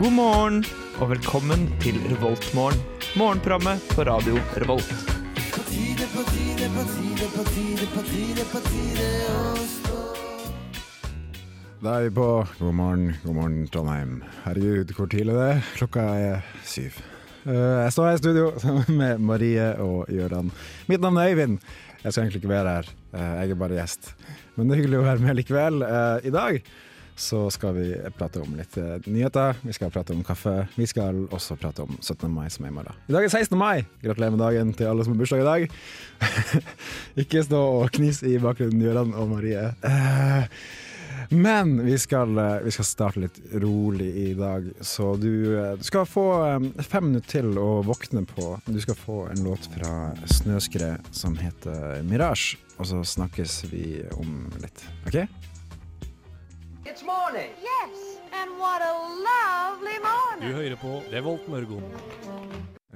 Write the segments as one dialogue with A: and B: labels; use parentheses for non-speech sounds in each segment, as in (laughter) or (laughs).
A: God morgen og velkommen til Revoltmorgen. Morgenprogrammet på radio Revolt.
B: Da er vi på God morgen, god morgen Trondheim. Herregud, hvor tidlig det er. Klokka er syv. Eh, Jeg står her i studio sammen med Marie og Gøran. Mitt navn er Øyvind. Jeg skal egentlig ikke være her, Eh, jeg er bare gjest. Men det er hyggelig å være med likevel. Eh, I dag så skal vi prate om litt eh, nyheter, vi skal prate om kaffe. Vi skal også prate om 17. mai, som er i morgen. I dag er 16. mai! Gratulerer med dagen til alle som har bursdag i dag. (laughs) Ikke stå og knis i bakgrunnen, Gøran og Marie. Eh, Men vi skal, eh, vi skal starte litt rolig i dag, så du, eh, du skal få eh, fem minutter til å våkne på. Du skal få en låt fra Snøskred som heter 'Mirage', og så snakkes vi om litt. OK?
C: It's morning.
D: Yes, and what a lovely
E: Du
D: morning.
E: hører på Revolt Mørgon.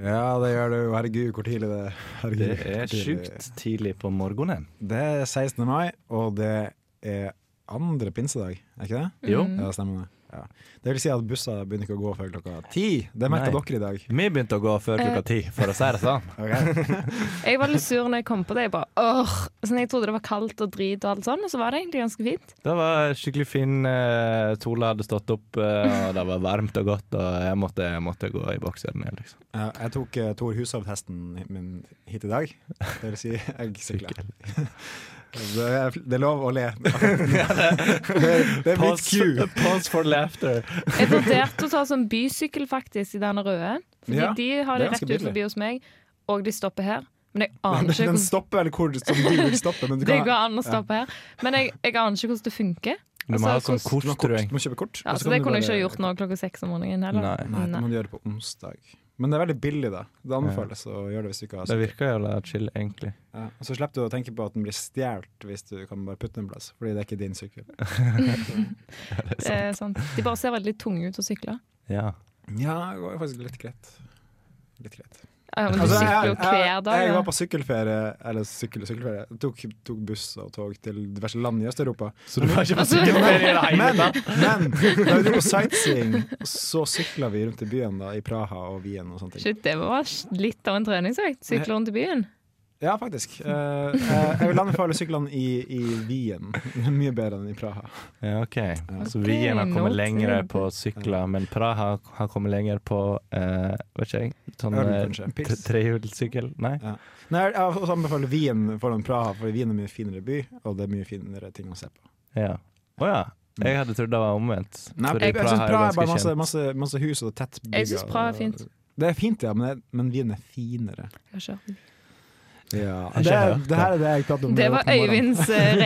B: Ja, det gjør du. Herregud, hvor tidlig det er. Herregud,
F: Det er
B: hvor tidlig.
F: sjukt tidlig på morgenen.
B: Det er 16. mai, og det er andre pinsedag, er ikke det?
F: Jo.
B: Ja, stemmer det. Ja. Det vil si at busser begynner ikke å gå før klokka ti. Det merka
F: Nei.
B: dere i dag.
F: Mm. Vi begynte å gå før klokka ti, for å si det sånn.
G: Jeg var litt sur når jeg kom på det. Jeg bare, åh sånn, Jeg trodde det var kaldt og drit, og alt sånn, og så var det egentlig ganske fint.
F: (laughs) Det var skikkelig fin. eh, Sola hadde stått opp, eh, og det var varmt og godt, og jeg måtte, jeg måtte gå i bokseren igjen, liksom.
B: Ja, jeg tok eh, Tor Hushov-hesten min hit i dag. Det vil si, jeg sykla. Det er, det er lov å (laughs) le. Det, det er litt cute.
F: Pause, (laughs) pause for laughter.
G: Jeg vurderte å ta sånn bysykkel faktisk i den røde, Fordi
B: Ja,
G: de har
B: det
G: det
B: er
G: rett
B: ganske
G: ut
B: billig.
G: forbi hos meg, og de stopper her. Men jeg aner ikke
B: Den
G: hvordan
B: stopper vel hvor som du vil stoppe. Men du
G: det
B: kan,
G: går an å stoppe her. Men jeg, jeg aner ikke hvordan det funker.
F: Du må ha
G: Altså,
F: sånn
G: hvordan-
B: du,
F: kort,
B: må ha
F: tror
B: kort,
F: jeg.
B: du må kjøpe kort.
G: Ja,
B: og så
G: så
B: kan
G: det
B: du
G: kunne jeg ikke
B: bare-
G: ha gjort nå klokka seks om morgenen heller.
F: Nei.
B: Nei, det
G: Nei.
B: må du gjøre på onsdag. Men det er veldig billig, da. Det anbefales å gjøre det hvis du ikke har
F: Det virker jævla chill, egentlig.
B: Ja, og så slipper du å tenke på at den blir stjålet hvis du kan bare putte den en plass, fordi det er ikke din sykkel.
G: Det er sant. De bare ser veldig tunge ut å sykle.
F: Ja.
B: Ja, det går faktisk litt greit. Litt greit.
G: Ja, men du
B: Altså,
G: sykler jo hver dag.
B: jeg
G: ja.
B: var på sykkelferie, eller sykkel, sykkelferie. Jeg tok, tok buss og tog til diverse land i Øst-Europa.
F: Så du var ikke på
G: Altså-
F: sykkelferie i (laughs) det hele
B: Men, men da vi dro på sightseeing, så sykla vi rundt i byen, da, i Praha og Wien og sånne ting.
G: Shit, det var litt av en treningsøkt. Sykle rundt i byen.
B: Ja, faktisk. Eh, eh, jeg vil anbefale syklene i, i Wien. (laughs) Mye bedre enn i Praha.
F: Ja, ok. Så
G: Ok,
F: Wien har kommet
G: nå
F: lenger
G: ser jeg.
F: på sykler, men Praha har kommet lenger på eh, vet ikke jeg, sånn
B: Øl,
F: eh,
B: kanskje. Pils.
F: tre- trehjulssykkel? Nei.
B: Nei, jeg vil også anbefale Wien foran Praha, for Wien er en mye finere by, og det er mye finere ting å se på.
F: Ja. Å ja. Jeg hadde trodd det var omvendt.
B: Nei,
F: fordi
B: jeg, jeg syns
F: Praha er
B: Praha er
F: ganske
B: bare masse,
F: kjent.
B: masse, masse hus og tett bygger.
G: Jeg synes Praha er fint.
B: Det er fint, ja, men, det- men Wien er finere.
G: Jeg har kjørt den.
B: Det,
F: Jeg skjønner
B: det her er det jeg prater om.
G: Det
B: når jeg
G: var
B: våkner om morgenen.
G: Øyvinds eh,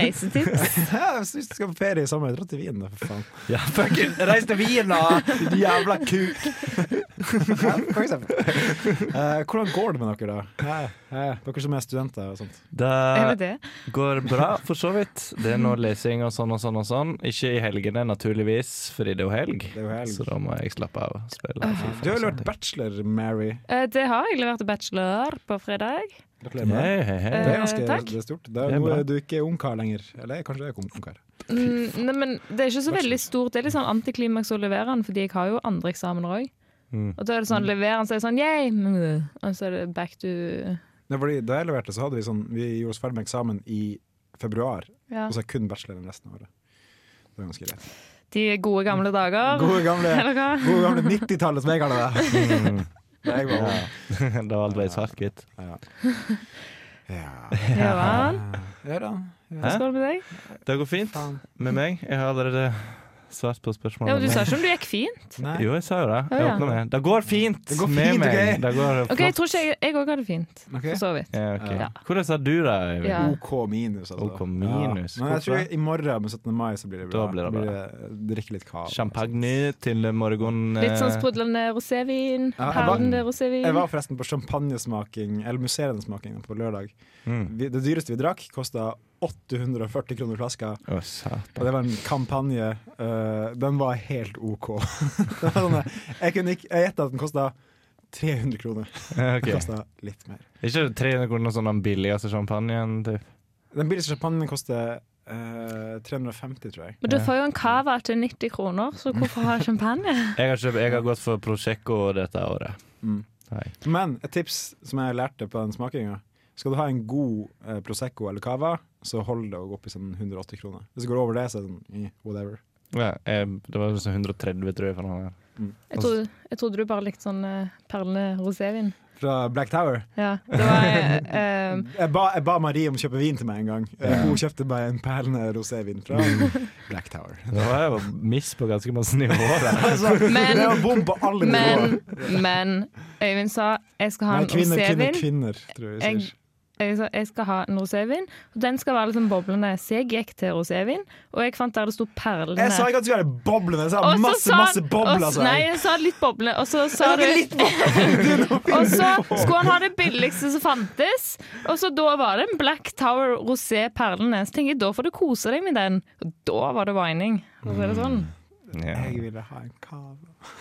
G: (laughs) reisetips.
B: (laughs) Ja, Hvis du skal på ferie i sommer, dra til Wien, da, for faen.
F: Ja, fucking reis til Wien, da! Din jævla kuk!
B: (laughs) Ja, for eksempel. Eh, hvordan går det med dere, da? Eh, eh, dere som er studenter og sånt.
G: Er
F: Det
G: det det?
F: går bra, for så vidt. Det er nå lesing og sånn og sånn og sånn. Ikke i helgene, naturligvis, fordi det er jo helg.
B: Det er jo helg.
F: Så da må jeg slappe av og spille.
B: Du har jo vært bachelor, Mary.
G: Eh, Det har jeg levert til bachelor på fredag.
B: Gratulerer med det.
F: Hei, hei, hei.
B: Det er
G: Eh,
B: ganske
G: takk.
B: det er stort. Det er,
F: Det er
B: nå
F: bra.
B: er du ikke ungkar lenger. Eller kanskje du er ung- ungkar.
G: Mm, nei, men det er ikke så veldig stort. Det er litt sånn antiklimaks å levere den, fordi jeg har jo andre eksamener òg.
F: Mm.
G: Og da er det sånn, leverer den, så er det sånn yay! mm, Og så er det back to
B: Nei, fordi da jeg leverte, så hadde vi sånn Vi gjorde oss ferdig med eksamen i februar,
G: ja.
B: og så kun bacheloren resten av året. Det var ganske greit.
G: de gode gamle dager.
B: Gode gamle,
G: (laughs) Eller hva?
B: gode gamle 90-tallet, som jeg kaller det.
G: Eh.
F: Mm.
B: Da jeg var ung.
F: (laughs) Det var alt vei svart, gitt.
B: Ja.
G: Ja, vel.
B: Ja da.
F: Hæ?
G: Skål med deg.
F: Det går fint
B: Faen.
F: med meg. Jeg har allerede svart på spørsmålet.
G: Ja, men du sa ikke om du gikk fint.
B: Nei.
F: Jo, jeg sa jo det.
G: Å,
F: Jeg
G: ja.
F: åpner meg. Det går fint,
B: Det går
F: med
B: fint,
F: meg.
B: ok.
F: Det går flott.
G: OK, jeg tror ikke jeg- jeg òg har det fint,
B: Ok.
G: for så vidt.
F: Ja, ok.
B: Ja.
F: Hvordan sa du det? Øyvind?
G: Ja.
B: OK minus, altså.
F: OK minus.
B: Ja. Men jeg tror i morgen med 17. mai så blir det bra.
F: Da blir det
B: det- eh, Drikke litt kava.
F: Champagne til morgen
G: Litt sånn
F: eh,
G: sprudlende rosévin,
B: Ja, jeg var-
G: perlende rosévin.
B: Jeg var forresten på champagnesmaking, eller musserende smaking, på lørdag.
F: Mm.
B: Vi, det dyreste vi drakk, kosta 840 kroner flaska. (laughs)
F: Å, satan.
B: Og det var en kampanje. eh, den var helt OK. (laughs) det var sånn, jeg kunne ikke Jeg gjetta at den kosta 300 kroner.
F: Ok.
B: Den
F: (laughs)
B: kosta litt mer.
F: Ikke 300 kroner sånn den billigste champagnen, typ?
B: Den billigste champagnen koster eh, eh, 350, tror jeg.
G: Men du får jo en cava til 90 kroner, så hvorfor ha champagne?
F: Jeg har, kjøpt, jeg har gått for Prosecco dette året.
B: Mm.
F: Nei.
B: Men et tips som jeg lærte på den smakinga. Skal du ha en god eh, Prosecco eller Cava, så hold det å gå opp i sånn 180 kroner. Hvis det går over det, så er det sånn eh, whatever.
F: Ja, jeg, det var sånn 130, tror jeg. For noe.
G: Jeg
B: Altså-
G: trodde, jeg trodde du bare likte sånn eh, perlende rosévin.
B: Fra Black Tower.
G: Ja, det var eh, eh,
B: Jeg ba, jeg ba Marie om å kjøpe vin til meg en gang. Eh, Hun kjøpte bare en perlende rosévin fra (laughs) Black Tower.
F: Det var jo miss på ganske masse
B: (laughs)
F: nivåer. der.
B: (laughs)
G: Men-
B: det var bom på alle nivåer.
G: Men, men Øyvind sa jeg skal ha
B: Nei,
G: en
B: kvinner, kvinner,
G: rosévin.
B: kvinner, tror jeg vi
G: Jeg-
B: sier.
G: Jeg sa jeg skal ha en rosévin, og den skal være liksom boblende. Så jeg gikk til rosévin, og jeg fant der det sto perlene.
B: Jeg sa ikke at du skulle være boblende! Jeg sa
G: Og så
B: masse,
G: sa han-
B: masse bobler,
G: og s-
B: sa
G: Nei,
B: jeg.
G: jeg sa litt boble, og så sa du Og så skulle han ha det billigste som fantes, og så da var det en Black Tower Rosé Perlene. Så tenker jeg, da får du kose deg med den. Og da var det vining. Og så er det sånn.
B: Jeg ville ha en Cava.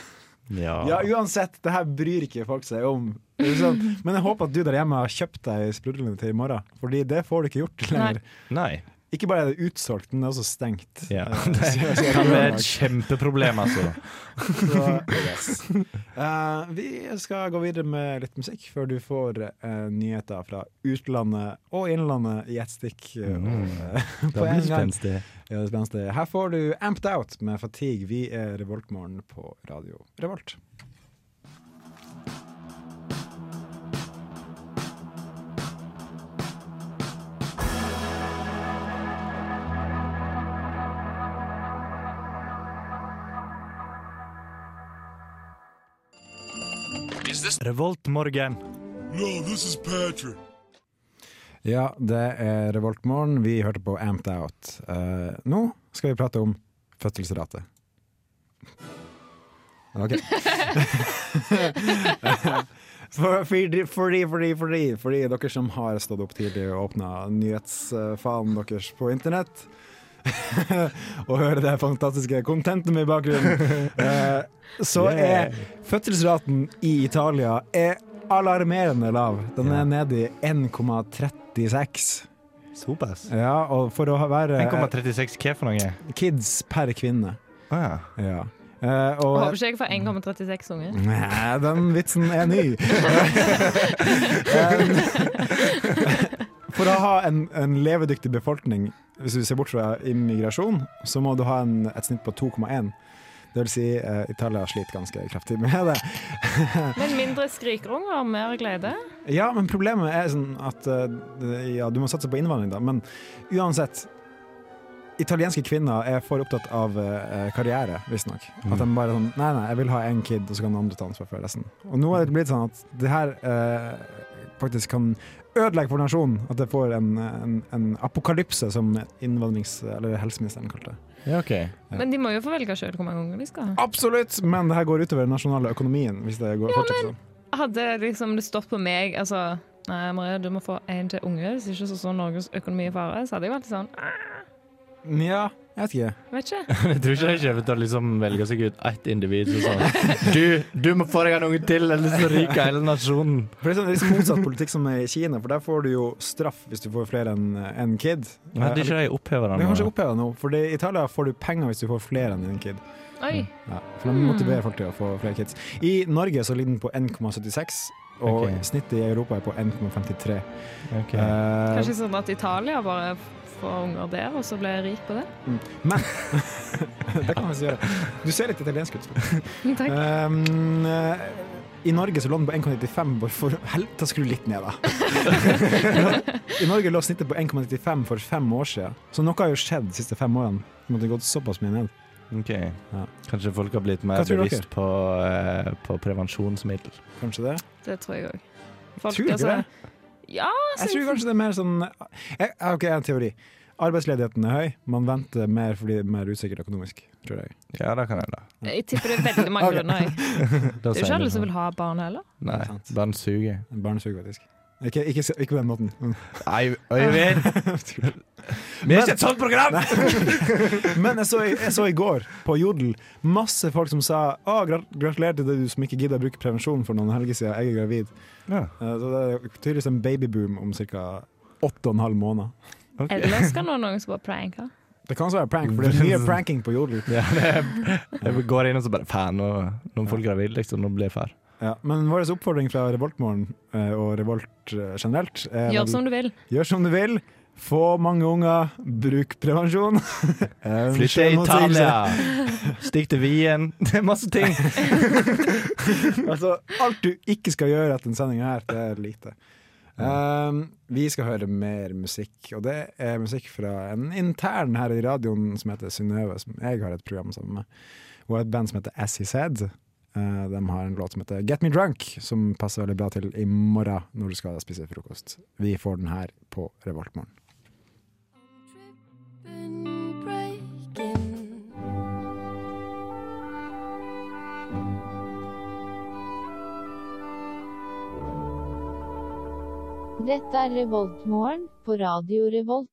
F: Ja.
B: Ja, uansett, det her bryr ikke folk seg om. Det er Sånn. Men jeg håper at du der hjemme har kjøpt deg sprudlene til i morgen, Fordi det får du ikke gjort lenger.
F: Nei.
B: Ikke bare er det utsolgt, men det er også stengt.
F: Ja.
B: (laughs) Eh, så- så- så-
F: Kan være et kjempeproblem, altså.
B: så- yes. (laughs) Eh, vi skal gå videre med litt musikk før du får eh, nyheter fra utlandet og innlandet i ett stikk. eh, eh, (laughs) (laughs) på en gang. Ja, det er spenstig. Her får du Amped Out med Fatigue. Vi er Revoltmorgen på radio Revolt.
F: Revoltmorgen.
B: Ja, det er Revoltmorgen. Vi hørte på Amped Out. Eh, nå skal vi prate om fødselsrate. OK. (laughs) For- Fordi, fordi, fordi, fordi, fordi dere som har stått opp tidlig og åpna nyhetsfanen deres på internett, (laughs) og hører det fantastiske contentet med i bakgrunnen, eh, så er fødselsraten i Italia er alarmerende lav. Den er nede i 1,36.
F: Sopass.
B: Ja, og for å ha- være
F: 1,36 hva for noe?
B: eh, kids per kvinne.
F: Å ja.
B: Ja. Eh,
G: Jeg
B: og
G: håper ikke jeg får 1,36 unger.
B: Nei, den vitsen er ny. (laughs) Um, For å ha en, en levedyktig befolkning, hvis du ser bort fra immigrasjon, så må du ha en, et snitt på 2,1. Det vil si, eh, Italia sliter ganske kraftig med det.
G: Men mindre skrikerunger, mer glede.
B: Ja, men problemet er sånn at eh, Ja, du må satse på innvandring, da, men uansett Italienske kvinner er for opptatt av eh, karriere, visstnok. At de bare sånn Nei, nei, jeg vil ha én kid, og så kan andre ta ansvar for resten. Og nå er det blitt sånn at det her eh, faktisk kan ødelegge for nasjonen. At det får en, en, en apokalypse, som innvandrings- eller helseministeren kalte det.
F: ja OK.
G: Men de må jo få velge sjøl hvor mange unger de skal ha.
B: Absolutt! Men det her går utover den nasjonale økonomien, hvis det går fortsetter sånn.
G: Hadde liksom det stått på meg altså, Nei, Maria, du må få en til unge, hvis ikke så står Norges økonomi i fare. Så hadde jeg vært litt sånn «Ah,
B: sånn. Ja, jeg vet ikke.
G: Vet ikke.
F: Jeg tror ikke de kommer til å liksom velge seg ut ett individ som sånn (laughs) Du, du må få deg en unge til, ellers så ryker hele nasjonen.
B: For det er sånn- det er liksom motsatt politikk som er i Kina, for der får du jo straff hvis du får flere enn en kid.
F: Hadde ikke de opphevet
B: det
F: den? eh,
B: er kanskje
F: nå?
B: oppheva nå, for i Italia får du penger hvis du får flere enn en kid.
G: Oi.
B: Ja, for de motiverer folk til å få flere kids. I Norge så ligger den på 1,76, og
F: Ok.
B: snittet i Europa er på 1,53.
F: Ok.
B: Eh,
G: Kanskje sånn at Italia bare får unger der, og så blir jeg rik på det.
B: men (laughs) det kan vi si gjøre. Du ser litt italiensk ut.
G: Takk.
B: Um, eh, I Norge så lå den på 1,95 for- (laughs) for helvete, skru litt ned, da. (laughs) I Norge lå snittet på 1,95 for fem år siden, så noe har jo skjedd de siste fem årene. Det måtte gått såpass mye ned.
F: Ok.
B: Ja.
F: Kanskje folk har blitt mer
B: Hva tror dere?
F: bevisst på, eh, på prevensjonsmiddel.
B: Kanskje det?
G: Det tror jeg altså, òg.
B: Tror du ikke det?
G: Ja,
B: Jeg tror kanskje det er mer sånn jeg, jeg- OK, jeg har en teori. Arbeidsledigheten er høy, man venter mer fordi det er mer usikkert økonomisk, tror jeg.
F: Ja, det kan jeg da.
G: jeg tipper det er veldig mange
B: Ok.
G: grunner. jeg.
F: Da
G: Det er jo
F: sier
G: ikke alle
F: du
G: som
F: sånn.
G: vil ha barn heller.
F: Nei,
B: sant.
F: den suger.
B: Barnesug, faktisk. Ikke, ikke, se- ikke på den måten. men-
F: Nei, (laughs) Øyvind! Vi er ikke et sånt program!
B: Men jeg så, i- jeg så i går på Jodel masse folk som sa Å, grat gratulerer til deg du som ikke gidder å bruke prevensjon for noen helger siden, jeg er gravid.
F: Ja.
B: Eh, Så det er tydeligvis en babyboom om ca. 8,5 måneder.
F: Ok.
G: Eller skal noen, noen som bare pranker.
B: Det kan også være prank, for det (laughs) er mye pranking på jordbruk.
F: Ja, det, jeg går inn og så bare Faen, nå, nå er folk gravide, liksom. Nå blir jeg fær.
B: Ja, men vår oppfordring fra Revoltmorgen eh, og Revolt eh, generelt er
G: Gjør som du vil.
B: gjør som du vil. Få mange unger, bruk prevensjon. (laughs) Eh,
F: Flytt til
B: selvmotsigelse.
F: Italia! Stikk til Wien. (laughs) Det er masse ting.
B: altså, alt du ikke skal gjøre etter denne sendinga her, det er lite. Um, vi skal høre mer musikk, og det er musikk fra en intern her i radioen som heter Synnøve, som jeg har et program sammen med. Hun har et band som heter As He Said. Eh, de har en låt som heter Get Me Drunk, som passer veldig bra til i morgen når du skal spise frokost. Vi får den her på Revoltmorgen.
E: Dette er Revoltmorgen på Radio Revolt.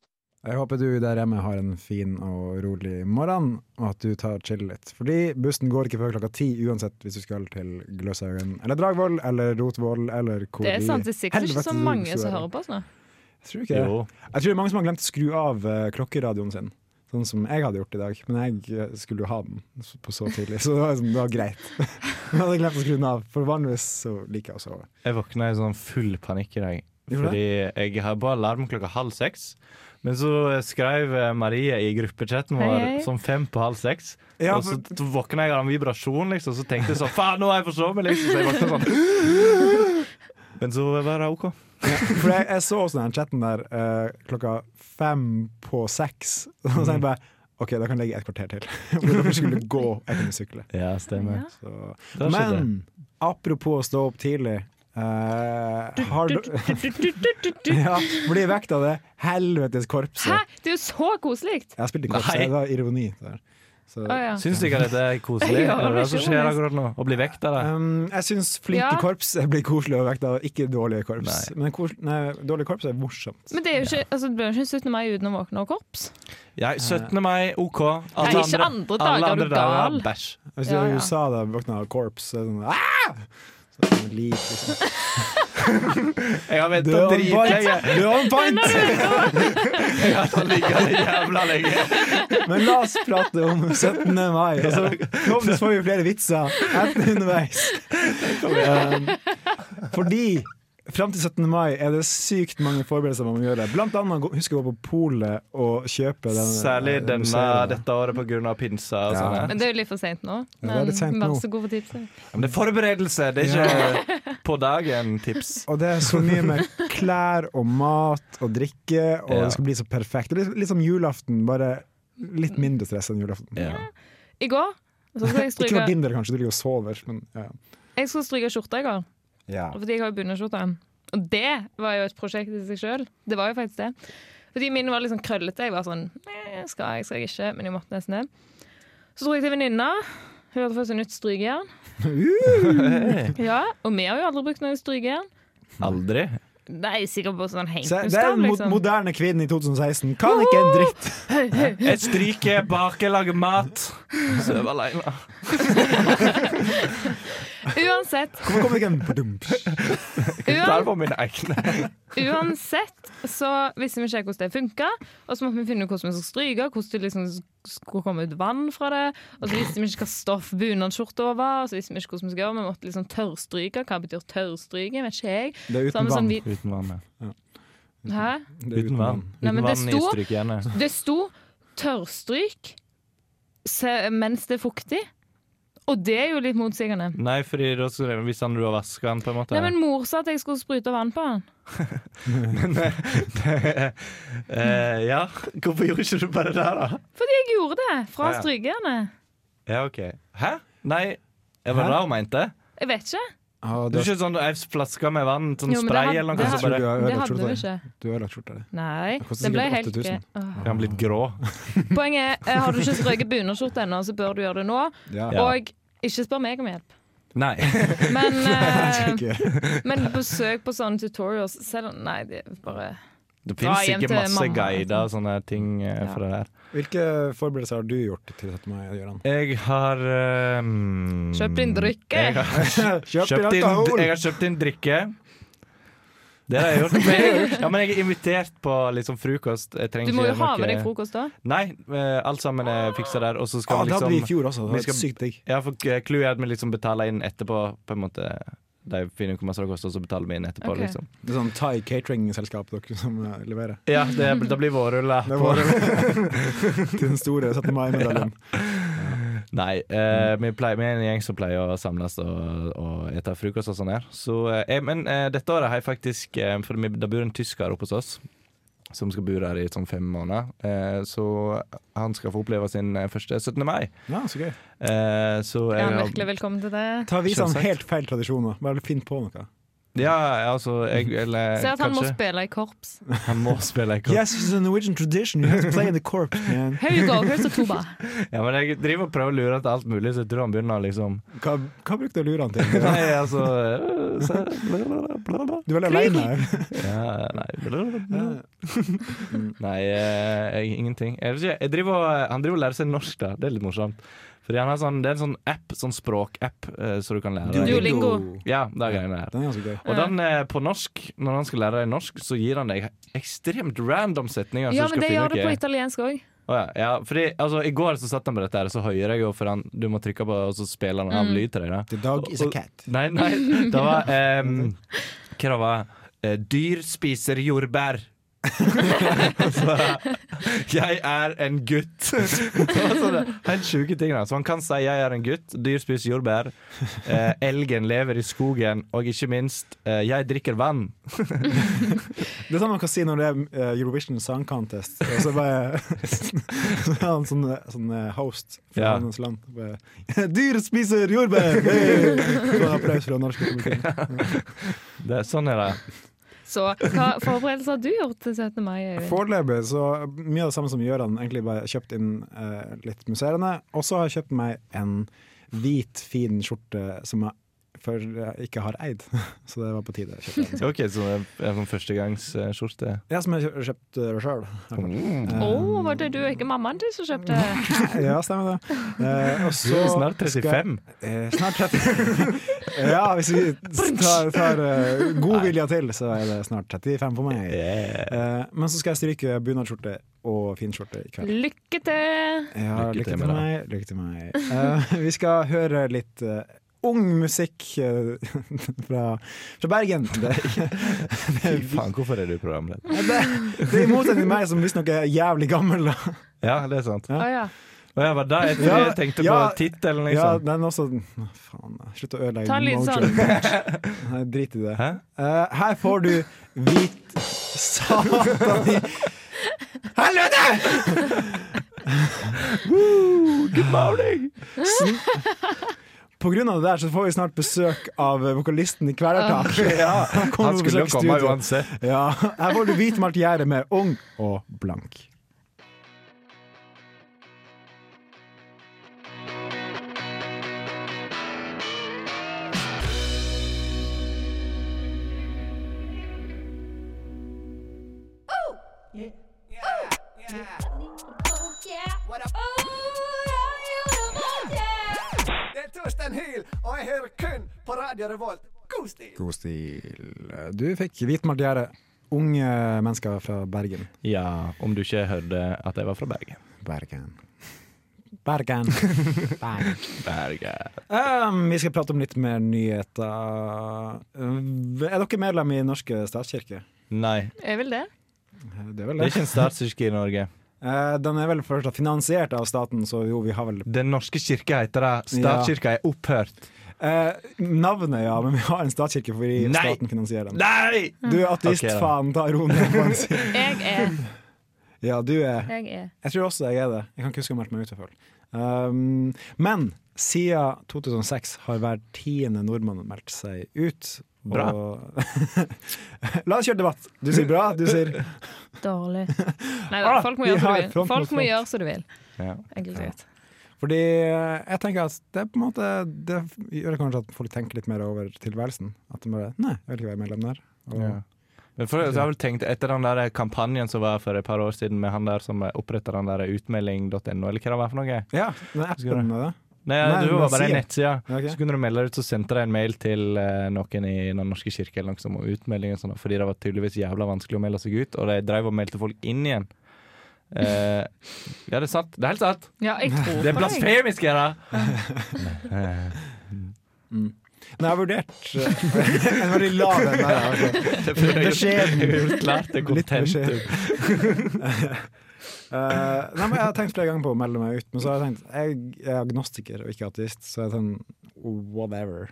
B: Jeg håper du der hjemme har en fin og rolig morgen, og at du tar og chiller litt. Fordi bussen går ikke før klokka ti uansett hvis du skal til Gløshaugen eller Dragvoll eller Rotvoll eller hvor
G: Det er
B: i
G: sant, det er sikkert ikke
B: helvete
G: så
B: du
G: mange
B: skulle
G: som
B: være.
G: hører på oss nå.
B: Jeg tror ikke det. Jeg tror det er mange som har glemt å skru av eh, klokkeradioen sin. Sånn som jeg hadde gjort i dag, men jeg eh, skulle jo ha den s- på så tidlig, (laughs) så det var, liksom, det var greit. (laughs) Men jeg hadde glemt å skru den av, for vanligvis så liker jeg å sove.
F: Jeg våkna i sånn full panikk i dag.
B: Gjorde
F: Fordi jeg har bare alarm klokka halv seks. Men så skrev eh, Marie i gruppechatten vår
G: Hei, hei.
F: sånn fem på halv seks.
B: Ja,
F: og så t- våkna jeg av en vibrasjon, liksom. Så tenkte jeg sånn Faen, nå har jeg forsovet meg! Liksom. Så jeg våkna sånn.
B: (laughs)
F: Men så var det OK.
B: For jeg, jeg så også den chatten der eh, klokka fem på seks. (laughs) Og så tenkte jeg bare OK, da kan jeg legge et kvarter til. (laughs) For dere skulle gå, jeg kunne sykle.
F: Ja, stemmer.
B: Så.
F: Da skjedde
B: Men apropos å stå opp tidlig. eh, har du (laughs) Ja, bli vekt av det helvetes
G: Hæ,
B: korpset.
G: det er jo så koselig!
B: Jeg har spilt i korps,
F: Nei.
B: det var ironi. Der. Så,
G: Å ja.
F: Syns dere dette er koselig?
G: Ja,
F: er det det som
G: visjon,
F: skjer
G: visst.
F: akkurat nå? Å bli vekt av det?
B: Um, jeg syns flinke
G: Ja.
B: korps blir koselig å vekte av, ikke dårlige korps. Men kos- nei, dårlige korps er morsomt.
G: Men det er jo ikke, altså, det blir jo ikke 17. mai uten å våkne og korps.
F: Ja, 17. mai, OK.
G: Nei, ikke andre dager,
F: alle
G: er du
F: andre dager,
G: gal?
F: Bæsj.
B: Hvis du er
G: Ja,
B: i
G: ja.
B: USA da våkner av korps, så er det sånn ah! Så er det sånn lik, (laughs) liksom.
F: Jeg har
B: Du er
F: ventet
B: on point!
F: dritlenge.
B: Du er on point!
F: Jeg har vært liggende (laughs) jævla lenge.
B: Men la oss prate om 17. mai. Og så forhåpentligvis får vi flere vitser etter underveis. Um, fordi fram til 17. mai er det sykt mange forberedelser man må gjøre. Blant annet gå- husk å gå på polet og kjøpe den.
F: Særlig
B: eh,
F: denne,
B: museet.
F: dette året pga. pinsa og
B: Ja.
F: sånn.
G: Men det er jo litt for seint nå.
B: Ja, det er
G: Men
B: litt sent
G: vær
B: nå.
G: så god for tipset.
F: Men det er forberedelse, det er ikke på dagen-tips.
B: Og det er så mye
G: (laughs)
B: med klær og mat og drikke, og
F: Ja.
B: det skal bli så perfekt. Det er litt- litt som julaften, bare litt mindre stress enn julaften.
G: I går så (laughs) skulle jeg
B: Ikke for
G: stryke,
B: din del, kanskje, du ligger og sover, men ja.
G: jeg skulle stryke skjorta i går. Fordi jeg har jo bunadsskjorte. Og det var jo et prosjekt i seg sjøl. Det var jo faktisk det. Fordi min var litt sånn krøllete. Jeg var sånn «Nei, Skal jeg, skal jeg ikke? Men jeg måtte nesten det. Så dro jeg til venninna. Hun hadde fått seg nytt strykejern. (laughs) Ja, og vi har jo aldri brukt noe strykejern.
F: Aldri.
G: Det er jeg sikker på sånn
B: Se, det er
G: hengekustang,
B: en mo
G: liksom.
B: moderne kvinne i 2016. Kan ikke en dritt!
F: Jeg stryker, baker, lager mat. Sover aleine.
G: Uansett,
B: Hvorfor kommer ikke en badump?
F: Der
G: uan,
F: var mine egne.
G: uansett så visste vi ikke hvordan det funka. Og så måtte vi finne ut hvordan vi skulle stryke, hvordan det liksom skulle komme ut vann fra det. Og så visste vi ikke hva stoff bunadsskjorta var, og så visste vi ikke hvordan vi skulle gjøre. Vi måtte liksom tørrstryke. Hva betyr tørrstryke? Vet ikke jeg.
B: Det er
G: Så
B: uten
G: har vi sånn
B: vann.
G: hvit-
F: Uten vann. ja.
G: Hæ?
B: Det er
F: Uten vann.
G: Nei,
F: Uten
G: men det
F: vann i
G: sto-
F: strykejernet.
G: Det sto tørrstryk se- mens det er fuktig. Og det er jo litt motsigende.
F: Nei, fordi da skulle hvis han du har vaska den, på en måte.
G: Nei, men mor sa at jeg skulle sprute vann på den.
F: (laughs) eh, ja, hvorfor gjorde ikke du bare det, da?
G: Fordi jeg gjorde det fra
F: Ah, ja.
G: strykejernet.
F: Ja, ok Hæ? Nei, jeg var
B: Hæ?
F: det hun mente
G: Jeg vet ikke.
B: Ah,
F: Du
B: du,
F: er
B: har,
F: ikke sånn ei flaske med vann, sånn
G: Jo, men det
F: spray
G: had-
F: eller noe
G: det
F: sånt?
G: had-
F: Bare,
B: du har
G: Det
B: ødelagt
G: hadde
B: skjorta
G: vi
B: di.
G: ikke.
B: Du har ødelagt skjorta di.
G: Nei.
B: koster
G: Den ble
B: sikkert
G: helt
B: 8000.
G: Åh.
F: han blitt grå.
G: Poenget er, eh, har du ikke strøket bunadsskjorte ennå, så bør du gjøre det nå.
B: Ja.
F: Ja.
G: Og ikke spør meg om hjelp.
F: (laughs) Nei.
G: Men, eh,
B: Ikke-
G: men besøk på sånne tutorials selv om Nei, det er bare
F: Det
G: Dra
F: finnes
G: hjem
F: sikkert
G: til
F: masse
G: mamma, liksom.
F: guider og sånne ting eh,
G: Ja.
F: for det der.
B: Hvilke forberedelser har du gjort til 17. mai, Gøran?
F: Jeg har eh, mm,
G: Kjøpt inn drikke.
F: Jeg har
B: (laughs) Kjøpt
F: kjøpt inn,
B: alkohol!
F: jeg har kjøpt inn drikke. Det har jeg
G: (laughs)
F: gjort. Men jeg, ja, men jeg er invitert på liksom frokost. Jeg trenger
G: Du må
F: ikke
G: jo ha
F: noe-
G: med deg frokost da.
F: Nei, eh, alt sammen er fiksa der. Og så skal
B: Ah,
F: vi
B: det hadde vi i
F: liksom
B: fjor også. Det
F: vi
B: var
F: skal-
B: sykt digg.
F: Ja, for eh, clouet er at vi liksom betaler inn etterpå, på en måte. De finner ut hvor mye det koster, og så betaler vi inn etterpå,
G: Ok.
F: liksom.
B: Det er sånn Thai catering-selskap dere som eh, leverer.
F: Ja, det, det blir vårruller.
B: Det
F: på-
B: (laughs) var til den store 17. mai-medaljen.
F: Nei, eh, vi, pleier, vi er en gjeng som pleier å samles og, og ete frokost og sånn her. Så, eh, men eh, dette året har jeg faktisk eh, For vi- det bor en tysker oppe hos oss. Som skal bo der i sånn fem måneder. Eh, så han skal få oppleve sin eh, første 17. mai.
B: Ja, så gøy.
F: Eh, så
G: Er
F: jeg,
G: han virkelig velkommen til det?
B: Ta Vis han
F: Selvsagt.
B: helt feil tradisjoner. Bare finn på noe.
F: Ja, altså jeg, eller,
G: (laughs) Se at han må
F: kanskje-
G: spille i korps.
F: (laughs) han må spille i korps.
B: Yes, it's a Norwegian tradition. You have to play in the corp, man.
G: Here you go, here's a
F: (laughs)
G: tuba.
F: Ja, men jeg driver og prøver å lure etter alt mulig, så jeg tror han begynner å liksom
B: Hva, hva brukte du å lure han til?
F: Nei, altså eh, så-
B: Du er veldig aleine.
F: Ja, nei
G: (laughs)
F: Eh, (laughs) Nei, eh, jeg, ingenting. Jeg, vet ikke, jeg driver, og- eh, han driver og lærer seg norsk, da. Det er litt morsomt. Fordi han har sånn, Det er en sånn app, sånn språkapp, eh, så du kan lære deg
G: Duolingo.
F: Ja, det er greiene her.
B: Den er ganske gøy.
F: Og den eh, på norsk, når han skal lære deg norsk, så gir han deg ekstremt random setninger.
G: Ja,
F: som
G: men
F: skal
G: det
F: finne
G: gjør det
F: ut
G: på
F: hva er.
G: italiensk òg.
F: Å ja, ja, fordi altså, I går så satt han på dette, her, så hører jeg jo, for han, du må trykke på, og så spiller han
G: Mm.
F: av lyd til deg. da
B: The dog is a cat.
F: Nei, nei, det
B: (laughs)
F: var ehm, Hva det var Eh, Dyr spiser jordbær. (laughs) så, jeg er en
B: (laughs)
F: gutt. altså, det, er helt sjuke ting. Da. Så han kan si 'jeg er en gutt', 'dyr spiser jordbær', eh, 'elgen lever i skogen', og ikke minst eh, 'jeg drikker vann'.
B: Det er sånn man kan si når det er eh, Eurovision Song Contest. Og så bare (laughs) Så er han sånn, eh, sånn eh, host fra
F: Ja.
B: hans land. Bare, (laughs) Dyr spiser jordbær! Hey! Så applaus fra norsk publikum.
F: Det, sånn er det.
G: Så hva forberedelser har du gjort til 17. mai? Øyvind?
B: Foreløpig så mye av det samme som Gjøran, egentlig bare kjøpt inn eh, litt musserende. Og så har jeg kjøpt meg en hvit, fin skjorte som jeg før jeg ikke har eid. (laughs) Så det var på tide. å kjøpe den.
F: OK, så det er en sånn førstegangsskjorte.
B: Ja, som jeg har kjøpt sjøl.
F: Mm.
G: Å, var det du og ikke mammaen din som kjøpte?
B: Eh,
F: (laughs)
B: Ja, stemmer det. Eh, og
F: Du er
B: så
F: snart
B: skal-
F: 35.
B: Eh, snart 30. (laughs) ja, hvis vi tar, tar eh, god vilje til, så er det snart 35 for meg.
F: Yeah.
B: Eh, men så skal jeg stryke bunadsskjorte og finskjorte i kveld.
G: Lykke til!
B: Ja,
F: Lykke
B: lykke
F: til
B: til
F: med det.
B: meg. Lykke til meg. Eh, vi skal høre litt eh, ung musikk eh, (laughs) fra, fra Bergen. Det,
F: Fy faen, hvorfor er du programleder?
B: det, det er i motsetning til meg, som visstnok er jævlig gammel. Da.
F: Ja, det er sant.
G: Å ja.
F: Og jeg var der, jeg, tror
B: Ja,
F: jeg tenkte på
B: ja,
F: tittelen,
B: Ja,
F: liksom.
B: den også Å, Faen, slutt å ødelegge
G: Ta litt sånn.
B: mojo. Nei, Drit i det.
F: Hæ?
B: Eh, her får du hvit satan i Helvete!
F: Good morning!
B: På grunn av det der så får vi snart besøk av vokalisten i Kvelertak.
F: Ah,
B: Han kommer
F: Han
B: på
F: skulle
B: besøk i
F: jo komme
B: studio.
F: uansett.
B: Ja, her får du hvit malt gjerde med ung og blank.
C: Det er Torstein Hyl, og jeg hører kun på Radio Revolt. God stil!
B: God stil. Du fikk hvit malt gjerde. Unge mennesker fra Bergen.
F: Ja, om du ikke hørte at jeg var fra Bergen.
B: Bergen. Bergen. Bergen. (laughs)
F: Bergen.
B: Um, vi skal prate om litt mer nyheter. Uh, Er dere medlem i Norske statskirke?
F: Nei,
G: Er vel det?
B: Det er vel
F: det er
B: det.
F: ikke en statskirke i Norge.
B: Eh, den er vel først finansiert av staten, så jo, vi har vel
F: Den norske kirke heter det. Statskirka er opphørt.
B: Eh, Navnet, ja, men vi har en statskirke fordi
F: Nei!
B: staten finansierer den.
F: Nei!
B: Du er ateist,
F: Ok, da.
B: faen, ta roen
F: (laughs)
B: ned.
G: Jeg er.
B: Ja, du er
G: Jeg er.
B: Jeg tror også jeg er det. Jeg kan ikke huske å melde meg ut. i hvert fall. Um, men siden 2006 har hver tiende nordmann meldt seg ut.
F: Bra.
B: Og... (laughs) La oss kjøre debatt. Du sier bra, du sier
G: Dårlig.
F: (laughs)
G: Nei da,
B: Ah,
G: folk må
B: vi
G: gjøre som
B: har
G: du vil.
B: front mot
G: Folk må
B: front.
G: gjøre som du vil.
F: Ja.
G: Enkelt og greit.
B: Fordi eh, jeg tenker at det er på en måte Det gjør kanskje at folk tenker litt mer over tilværelsen. At de bare Nei, jeg vil ikke være medlem der. Og,
F: Ja. Men for, jeg har vel tenkt, Etter den der kampanjen som var for et par år siden med han der som oppretta den der utmelding.no, eller hva det var for noe?
B: ja, den appen og det.
F: Nei,
B: Nei,
F: det var
B: men
F: bare en nettside.
B: side. Ok.
F: Så kunne du melde deg ut, så sendte de en mail til eh, noen i Den norske kirke eller noe sånt, og utmelding og sånt, fordi det var tydeligvis jævla vanskelig å melde seg ut, og de drev og meldte folk inn
B: (laughs)
F: igjen. Eh, ja, det er sant. Det er helt sant.
G: Ja, jeg
F: (laughs) Det
G: tror
F: er
G: på deg.
F: blasfemisk, er
B: (laughs)
F: det!
B: Men jeg har vurdert (laughs) en veldig lav en. Nei,
F: (laughs)
B: altså. Beskjeden.
F: Klart det er
B: Litt
F: content.
B: beskjeden. Eh, nei, men jeg har tenkt flere ganger på å melde meg ut, men så har jeg tenkt Jeg er agnostiker og ikke ateist, så jeg er sånn whatever.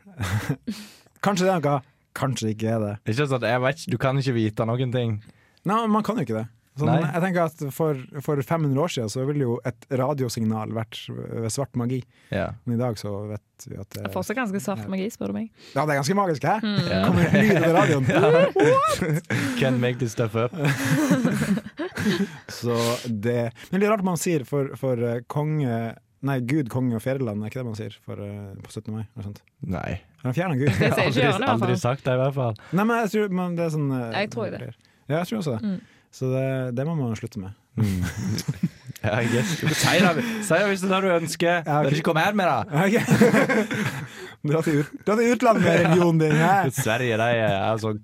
B: (laughs) kanskje det er noe, kanskje det ikke er det.
F: Ikke sant, jeg vet ikke, Du kan ikke vite noen ting.
B: Nei, men man kan jo ikke det. Sånn,
F: Nei.
B: jeg tenker at for, for 500 år siden så ville jo et radiosignal vært øh, svart magi,
F: Ja.
B: men i dag så vet vi at det,
G: Det er fortsatt ganske svart magi, spør du meg.
B: Ja, det er ganske magisk, hæ?
G: Mm.
B: (laughs)
F: Ja.
B: Kommer det lyd
G: (laughs)
B: over radioen?
F: Can make this stuff up.
B: Så det Men det er rart man sier for, for eh, konge Nei, Gud, konge og fedreland, er ikke det man sier for, eh, på 17. mai? Er det sant?
F: Nei.
B: Eller han fjerner Gud?
G: (laughs) Det sier ikke
F: Aldri,
G: Jørgen, i hvert
F: aldri
G: fall.
F: sagt det, i hvert fall.
B: Nei, men jeg tror men det er sånn eh,
G: Jeg tror det.
B: Ja, jeg tror også det.
G: Mm.
B: Så det, det må man slutte med. (laughs)
F: Ja, I guess. Du kan Si det si det hvis det er det du ønsker.
B: Ja, ok.
F: Bare ikke kom her med det!
B: Ok. (laughs) Dra til, ut, dra til utlandet med religionen din! Hæ?
F: (laughs) Sverige de er sånn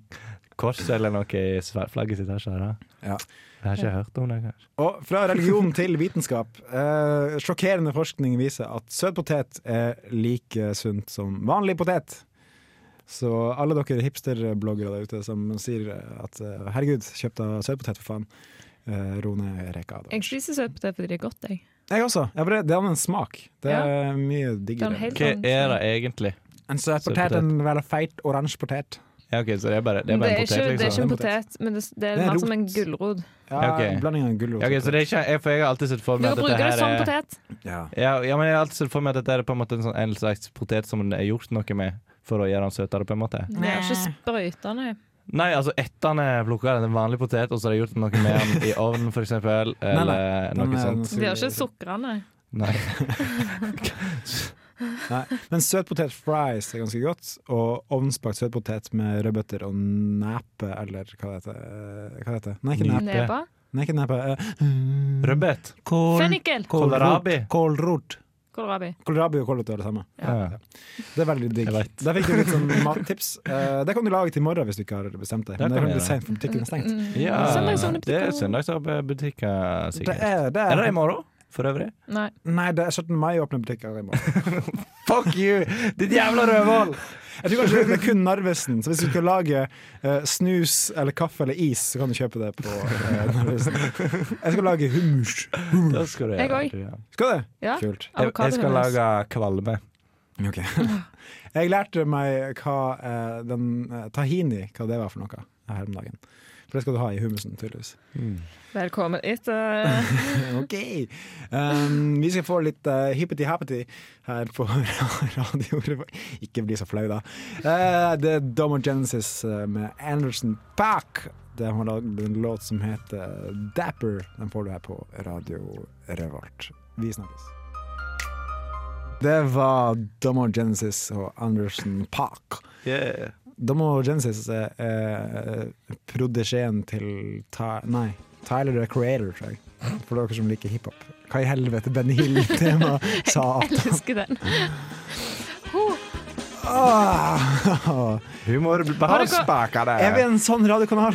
F: kors eller noe i sver- flagget sitt. her, så er det.
B: Ja.
F: Jeg har ikke hørt om det, kanskje.
B: Og fra religion til vitenskap. Eh, sjokkerende forskning viser at søtpotet er like sunt som vanlig potet. Så alle dere hipsterbloggere der ute som sier at eh, herregud, kjøp da søtpotet, for faen. Eh, ro ned reka. da.
G: Jeg spiser søtpotet fordi det er godt, jeg.
B: Jeg også. Jeg bare, det er en smak. Det er mye
G: Det er en
B: diggere.
G: helt
F: Hva
G: annen
F: er det egentlig?
B: En søtpotet er en veldig feit oransje potet.
F: Ja, ok, Så det er bare, det er
G: det
F: bare en
G: er ikke,
F: potet,
G: det er ikke
F: liksom?
G: en potet, men det, det
B: Det
G: er
B: er
G: mer som en
B: rot.
G: gulrot.
B: Ja,
F: Ja, ok.
B: en Blanding av gulrot
F: Ja, ok, så det er ikke, jeg, for jeg har alltid sett for
G: Du
F: meg
G: kan
F: at
G: bruke
F: dette
G: det
F: her
G: som
F: er
G: potet.
B: Ja.
F: ja, ja, men jeg har alltid sett for meg at dette er på en måte en, sånn, en slags potet som det er gjort noe med for å gjøre den søtere, på en måte.
G: Det er ikke sprøytende.
F: Nei, altså etter han er plukka en vanlig potet, og så har de gjort noe med den i ovnen, for
G: (laughs)
F: eksempel,
B: nei,
F: eller
B: den
F: noe
B: er-
F: sånt.
G: De har ikke sukrene.
F: Nei.
B: Nei. Men søtpotet fries er ganske godt, og ovnsbakt søtpotet med rødbeter og nepe, eller hva det heter eh, hva det heter? Nei, ikke
F: Ny-
B: nepe.
G: Neba.
B: Nei, ikke nepe. eh,
F: Rødbet.
G: Fennikel.
F: Kålrabi.
B: Kålrot.
G: Kålrabi.
B: Kålrabi og kålrot er det samme.
F: Ja.
B: Det er veldig digg.
F: Jeg vet.
B: Der fikk du litt sånn mattips. Eh, det kan du lage til i morgen hvis du ikke har bestemt deg.
F: Det
B: Men det
F: kan
B: er
F: vi
B: litt
F: gjøre. Mm,
B: sent, for butikken er stengt.
G: Mm.
F: Ja,
G: Søndagsåpne
F: det er
G: butikker.
F: søndagsbutikker,
B: Det
F: sikkert.
B: er, det
F: Er
B: er,
F: det i morgen, for øvrig?
G: Nei.
B: nei, det er 17. mai åpner butikker i morgen.
F: Fuck you, ditt jævla (laughs) røvhål!
B: Jeg tror kanskje det er kun Narvesen, så hvis du skal lage eh, snus eller kaffe eller is, så kan du kjøpe det på eh, Narvesen. Jeg skal lage hummus.
F: Det skal du
G: Jeg
F: gjøre.
G: òg.
F: ja.
B: Skal du?
G: Ja.
B: Kult.
F: Jeg, jeg skal
G: Avokadohummus.
F: lage kvalme.
B: Ok. (laughs) Jeg lærte meg hva eh, den eh, tahini hva det var for noe her om dagen. For det skal du ha i hummusen, tydeligvis.
G: Velkommen eh, (laughs) etter.
B: (laughs) Ok! Um, vi skal få litt uh, hippety-happety her på (laughs) radio. Revolt. Ikke bli så flau, da. Eh, det er Domo Genesis eh, med Anderson Pack. De har lagd en låt som heter Dapper. Den får du her på Radio Revolt. Vi snakkes. Det var Domo Genesis og Anderson Pack. Domo Genesis er eh, prodigsjeen til Ty Nei, Tyler the Creator, tror jeg. For dere som liker hiphop. Hva i helvete Benny (laughs) Hill-tema sa at
G: Elsker den.
B: ah,
F: Humor
G: Har dere-
F: spaka
B: Er vi en sånn radiokanal?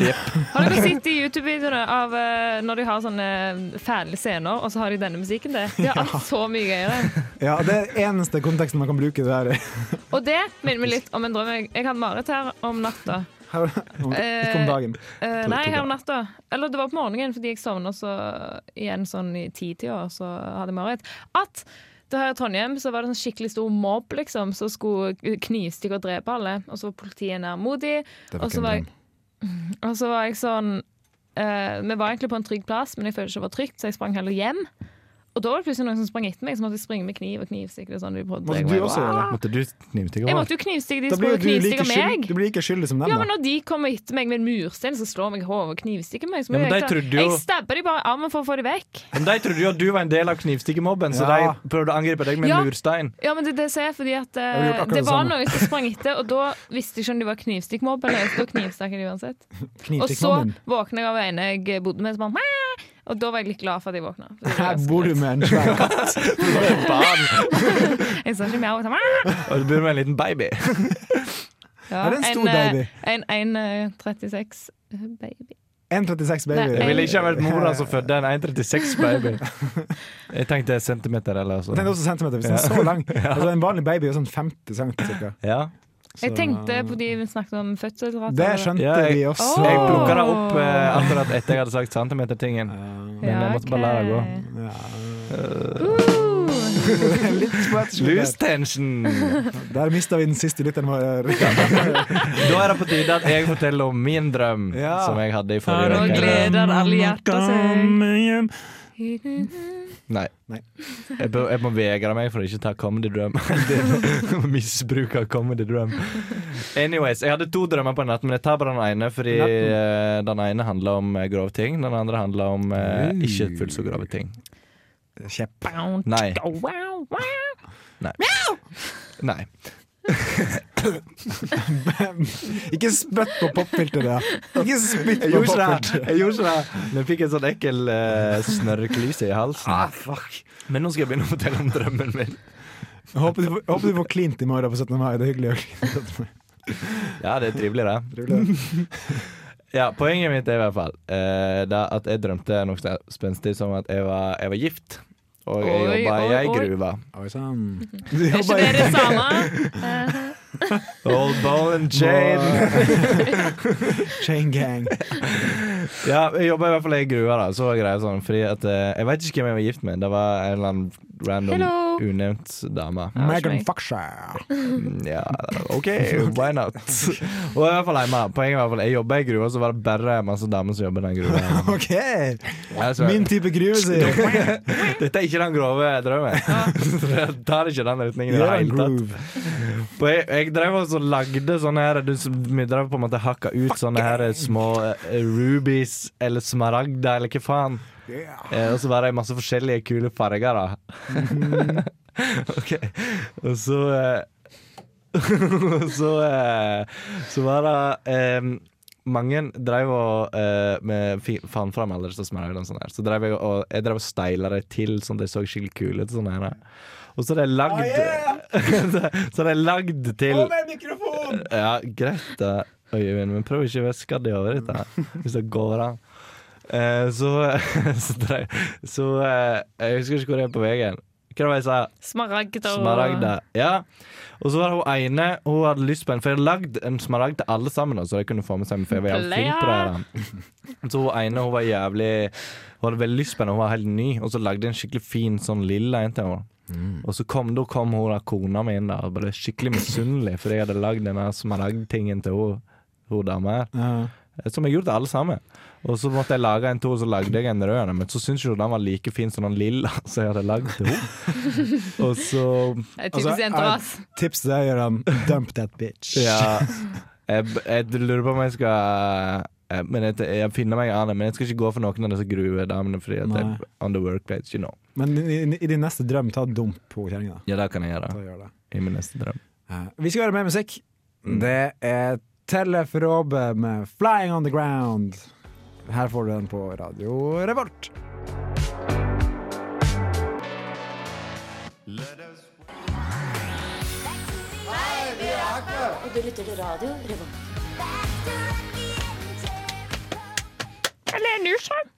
G: Har dere sett de YouTube-videoene av eh, når de har sånne eh, fæle scener, og så har de denne musikken der? De har alt så mye gøyere.
B: Ja, det er eneste konteksten man kan bruke det her i.
G: Og det minner meg litt om en drøm. jeg- Jeg hadde mareritt her om natta.
B: Her- om- Ikke om dagen.
G: Eh, nei, her om natta. Eller det var på morgenen, fordi jeg sovna så igjen sånn i titida, og så hadde jeg mareritt. At da her i Trondheim så var det en skikkelig stor mobb, liksom, som skulle knivstikke og drepe alle. Og så var politiet nærmodig.
B: Det
G: Og så var jeg, (laughs) og så var jeg sånn eh, Vi var egentlig på en trygg plass, men jeg følte ikke det var trygt, så jeg sprang heller hjem. Og da var det plutselig noen som sprang etter meg, så måtte jeg springe med kniv og knivstikke. og Sånn, de prøvde å
B: Måtte du
G: drepe meg.
B: også gjøre det?
F: Måtte du knivstikke
G: Jeg
F: over?
G: måtte jo knivstikke de
B: Da
G: som
B: blir jo
G: prøvde
B: du
G: å
B: like
G: knivstikke
B: skyldig,
G: meg.
B: du blir like skyldig som dem,
G: Ja, men
B: da.
G: når de kommer etter meg med en murstein, så slår meg i hodet og knivstikker meg. Så
F: Ja,
G: må
F: men
G: jeg,
F: de
G: ta-
F: trodde jo-
G: jeg stabber de bare i armen for å få de vekk.
F: Men De trodde jo at du var en del av knivstikkemobben, så
B: Ja.
F: de prøvde å angripe deg med
G: Ja.
F: murstein.
G: Ja, men det, det sier jeg fordi at eh,
B: ville gjort akkurat det
G: det var
B: samme.
G: noen som sprang etter, og da visste jeg ikke om de var knivstikkmobb eller ikke, og knivstakk de uansett. Og
B: Knivstikk
G: så
B: mannen din.
G: våkna jeg av en jeg bodde med, som bare "Mæ!" Og da var jeg litt glad for at
B: (laughs)
G: jeg våkna. fordi det var
B: Her bor du
G: skummelt.
B: med en svær (laughs)
G: (laughs)
B: katt.
F: Barn.
G: Jeg sa ikke mjau. jeg sa mjau.
F: Og du begynner med en liten baby.
G: Ja,
B: Er det en stor
G: eh,
B: baby?
G: En 1,36 baby.
B: 1,36
G: Nei,
B: baby.
F: Det
G: jeg-
F: ville ikke ha vært altså. mora som fødde en 1,36-baby. Jeg tenkte centimeter
B: Den
F: eller
B: er
F: sånn.
B: også centimeter, hvis den
F: (laughs)
B: er så lang. Altså, en vanlig baby er jo sånn 50 cm cirka.
F: Ja.
G: Jeg
B: Så-
G: tenkte på de vi snakket om fødselsrater.
B: Det skjønte
F: Ja, jeg-
B: vi også.
G: Åh.
F: Jeg plukka det opp eh, akkurat etter jeg hadde sagt centimetertingen.
B: Eh,
F: Men jeg måtte bare la det gå. (laughs)
G: Uh,
B: Litt spøtt.
F: Lose tension!
B: Der mista vi den siste lytteren vår. (laughs) Rikard.
F: Da er det på tide at jeg forteller om min drøm,
B: Ja.
F: som jeg hadde i
G: nå
F: forrige uke.
G: gleder alle hjerter seg.
F: Nei.
B: Nei.
F: Jeg, bør, jeg må vegre meg for å ikke ta Comedy (laughs) Drum. Misbruk av Comedy Drum. Anyways, jeg hadde to drømmer på en natt, men jeg tar bare den ene. Fordi eh, den ene handler om eh, grove ting, den andre handler om eh, ikke fullt så grove ting.
B: Kjepp.
F: Nei.
G: Wow, wow.
B: (laughs)
F: Nei.
B: Ikke spytt på popfilteret. Ikke spytt
F: Jeg
B: på
F: gjorde ikke det.
B: popfilteret.
F: Jeg gjorde ikke det. Ah, Men jeg fikk en sånn ekkel eh, snørklise i halsen. Men nå skal jeg begynne å fortelle om drømmen min. (laughs)
B: Håper du, får- håper du får klint i morgen på 17. mai. Det er hyggelig å kline.
F: Ja, det er trivelig, det.
B: Trivelig.
F: Ja, Poenget mitt er i hvert fall eh, det at jeg drømte noe så spenstig som at jeg var, jeg var gift. Og jeg
G: Oi,
F: jobba i
G: oi,
F: ei
G: oi.
F: gruve.
B: Oi sann. Du
G: Er ikke
B: jobber
G: det
B: i-
G: det
B: (laughs)
G: samme?
F: Old ball and chain.
B: Chain gang.
F: (laughs) Ja, jeg jobba i hvert fall i ei gruve, da. Så var greia sånn, fordi at eh, Jeg vet ikke hvem jeg var gift med. Det var en eller annen random
G: Hello.
F: unevnt
G: (laughs)
F: dame. Mm,
G: Ja, det er ikke
B: Megan
G: meg.
B: Foxshire.
F: Ja,
G: (laughs)
F: OK, why not? Og i hvert fall hjemme. da. Poenget var i hvert fall jeg jobba i gruva, så var det bare masse damer som jobba i den
G: (laughs)
F: gruva.
B: OK!
F: Ja, så-
B: Min type gruve, sier jeg.
F: (laughs) Dette er ikke den grove (laughs) drømmen. Jeg tar ikke den retningen i det
B: Gjør en
F: hele tatt.
B: groove.
F: For Jeg, jeg drev også og lagde sånne her du, Vi drev på en måte hakka ut sånne her små eh, rubies eller smaragder eller hva faen.
B: Yeah.
F: Eh, og så var det masse forskjellige kule farger, da. (laughs) OK. Og så eh, (laughs) Og så eh, Så var det eh, mange drev og eh, med, fi- fant fram alle disse smaragdene. og sånn her. Så drev jeg og, jeg drev og steila dem til sånn at de så skikkelig kule ut. Sånn her. Og så hadde jeg lagd (laughs) Så hadde jeg lagd til
B: mikrofon!
F: ja, greit da, Øyvind, men prøv ikke å være skadd i over dette, hvis det går an. Eh, så (laughs) så, drev- så eh, jeg husker ikke hvor jeg er på veien. Hva var det jeg sa?
G: Smaragder. og-
F: Smaragda. Ja. Og så var det hun ene hun hadde lyst på en, for jeg hadde lagd en smaragd til alle sammen. da, Så jeg kunne få med seg for jeg var jævlig flink på det. her, da. Så hun ene hun var jævlig Hun hadde veldig lyst på en, og hun var helt ny, og så lagde jeg en skikkelig fin sånn lilla en til henne. Og så kom, da kom hun da, kona mi inn da, og ble skikkelig misunnelig fordi jeg hadde lagd denne smaragdtingen til hun, hun dama her. eh, Som jeg gjorde til alle sammen. Og så måtte jeg lage en to, og så lagde jeg en rød en. Men så syntes ikke hun den var like fin som den lilla (laughs) som jeg hadde lagd til henne. Og så
G: Det er Typisk
B: Altså,
G: jenter,
B: er-
G: ass.
B: Tips til deg, Gøran. Dump that bitch.
F: Ja. (laughs) Jeg, jeg lurer på om jeg skal eh, men jeg, jeg finner meg an det, men jeg skal ikke gå for noen av disse gruvedamene. Fordi at jeg
B: Nei.
F: on the workplace, you know.
B: Men i, i, i din neste drøm, ta dump på kjerringa.
F: Ja, det kan jeg gjøre.
B: Ta og gjør det.
F: I min neste drøm.
B: Eh, Vi skal høre mer musikk. Det er Tellef Råbe med 'Flying On The Ground'. Her får du den på Radio Revolt.
H: Du lytter til radio Revolt.
G: Eller Nushan.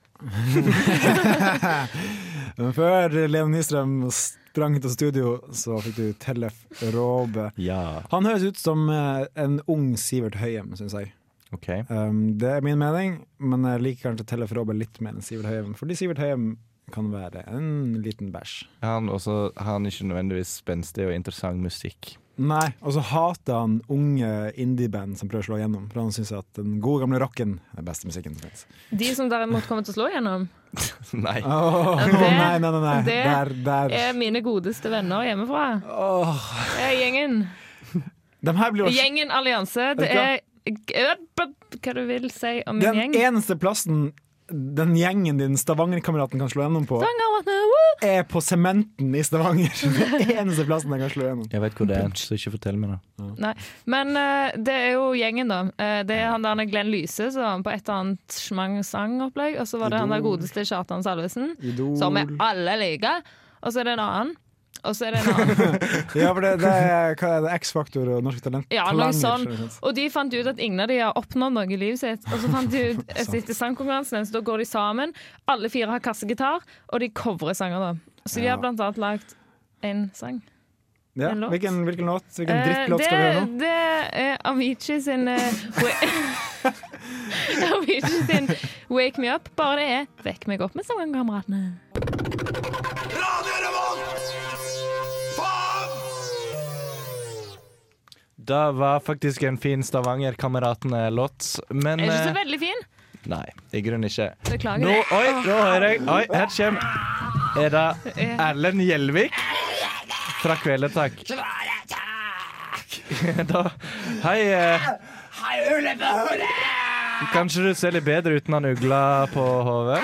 B: Men før Lene Nystrøm sprang ut av studio, så fikk du Tellef Råbe.
F: Ja.
B: Han høres ut som eh, en ung Sivert Høyem, syns jeg.
F: OK.
B: Um, det er min mening, men jeg liker kanskje Tellef Råbe litt mer enn Sivert Høyem, fordi Sivert Høyem kan være en liten bæsj.
F: Han også han er ikke nødvendigvis spenstig og interessant musikk. (laughs)
B: Nei, og så hater han unge indieband som prøver å slå igjennom. For han syns at den gode gamle rocken er den beste musikken som fins.
G: De som derimot kommer til å slå igjennom,
F: Nei.
B: Åh,
G: det-
B: nei, nei, nei. nei.
G: det
B: Der, der.
G: er mine godeste venner hjemmefra.
B: Åh.
G: Det er gjengen.
B: De her blir jo
G: Gjengen Allianse. Det er
B: Vet
G: Hva du vil si om min
B: den
G: gjeng?
B: eneste plassen den gjengen din Stavanger-kameraten kan slå gjennom på,
G: Stavanger, woo!
B: er på sementen i Stavanger. Den eneste plassen den kan slå gjennom.
F: Jeg vet hvor det er, så ikke fortell meg det.
G: Nei. Men eh, det er jo gjengen, da. Eh, det er han der Glenn Lyse som var med på et eller annet schmang-sang-opplegg. Og så var det han der
B: Idol.
G: godeste Kjartan Salvesen,
B: Idol.
G: som vi alle liker. Og så er det en annen. Og så er det en
B: (laughs)
G: annen.
B: Ja, for det, det er, hva er det, X-Faktor og Norske Talent?
G: Ja, noe sånn.
B: Talanger, sånn.
G: Og de fant ut at ingen av de har oppnådd noe i livet sitt. Og så fant de
B: (laughs)
G: ut etter sangkonkurransen, så da går de sammen. Alle fire har kassegitar, og de covrer sanger, da. Så de har blant annet lagd en sang.
B: Ja.
G: En låt.
B: Hvilken, hvilken låt? Hvilken
G: Eh,
B: drittlåt skal vi høre nå?
G: det, det er Avicii sin eh, wa- (laughs) Avicii sin 'Wake Me Up'. Bare det er 'Vekk meg opp med sangkameratene'.
F: Det var faktisk en fin Stavanger-kameratene-låt, men
G: Er ikke så
F: eh,
G: veldig fin.
F: Nei, i grunnen ikke.
G: Beklager
F: Nå,
G: det.
F: oi, nå hører jeg Oi, her kommer Er det Erlend Gjelvik fra Kvelertak? (laughs) Da Hei. Hei, Kanskje du ser litt bedre uten han ugla på hodet?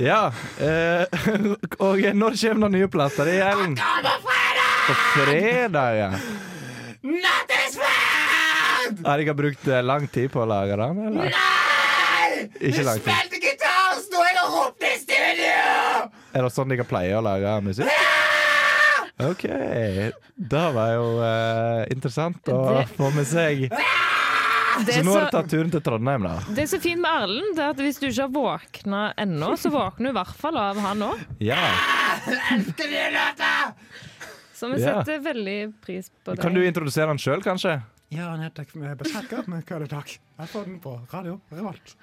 F: Ja. Eh, (laughs) og når kommer den nye plata di, Ellen? På fredag, ja. Har jeg brukt eh, lang tid på å lage den, eller? Nei! Ikke lang tid.
H: spilte gitar, sto jeg og ropte i studio!
F: Er det sånn dere pleier å lage musikk? OK. Det var jo eh, interessant å
G: Det-
F: få med seg.
G: Det
F: Så
G: er
F: nå har du
G: så,
F: tatt turen til Trondheim, da?
G: det er så fint med Erlend, det er at hvis du ikke har våkna ennå, så våkner du i hvert fall av han òg.
F: Ja.
G: Så vi
F: Ja.
G: setter veldig pris på det.
F: Kan du introdusere den sjøl, kanskje?
B: Ja, den heter Besnakka med Kvelertak. Jeg får den på radio Revolt.